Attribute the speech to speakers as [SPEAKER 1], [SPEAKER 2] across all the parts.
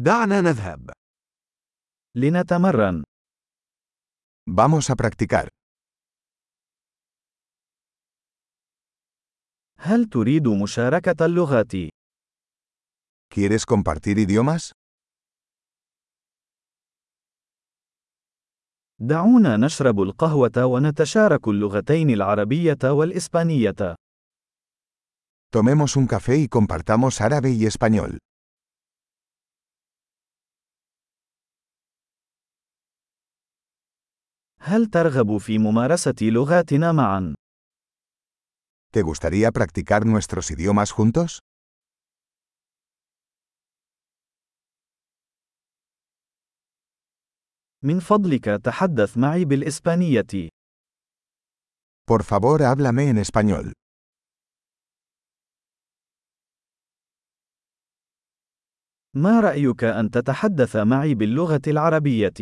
[SPEAKER 1] دعنا نذهب.
[SPEAKER 2] لنتمرن.
[SPEAKER 3] Vamos a practicar.
[SPEAKER 2] هل تريد مشاركة اللغات؟
[SPEAKER 3] ¿Quieres compartir idiomas?
[SPEAKER 2] دعونا نشرب القهوة ونتشارك اللغتين العربية والإسبانية.
[SPEAKER 3] Tomemos un café y compartamos árabe y español.
[SPEAKER 2] هل ترغب في ممارسة لغاتنا معا؟
[SPEAKER 3] ¿Te gustaría practicar nuestros idiomas juntos?
[SPEAKER 2] من فضلك تحدث معي بالإسبانية.
[SPEAKER 3] Por favor, háblame en español.
[SPEAKER 2] ما رأيك أن تتحدث معي باللغة العربية؟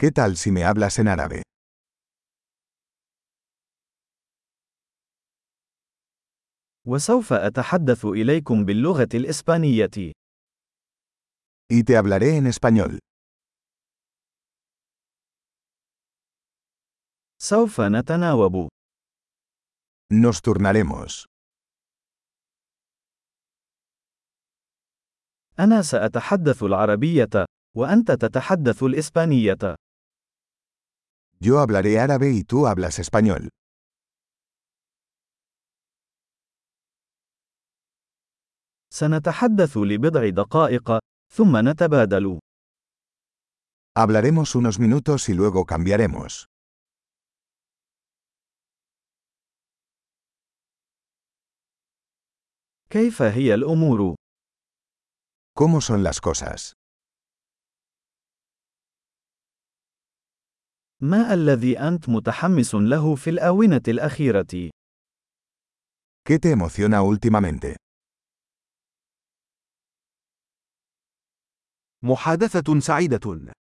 [SPEAKER 3] ¿Qué tal si me hablas en árabe?
[SPEAKER 2] وسوف أتحدث إليكم باللغة الإسبانية.
[SPEAKER 3] Y te hablaré en español.
[SPEAKER 2] سوف نتناوب.
[SPEAKER 3] Nos turnaremos.
[SPEAKER 2] أنا سأتحدث العربية، وأنت تتحدث الإسبانية.
[SPEAKER 3] Yo hablaré árabe y tú hablas español.
[SPEAKER 2] سنتحدث لبضع دقائق، ثم نتبادل.
[SPEAKER 3] Hablaremos unos minutos y luego cambiaremos.
[SPEAKER 2] كيف هي الأمور؟
[SPEAKER 3] ¿Cómo son las cosas?
[SPEAKER 2] ما الذي أنت متحمس له في الآونة الأخيرة؟
[SPEAKER 3] ¿Qué te emociona últimamente?
[SPEAKER 1] محادثة سعيدة.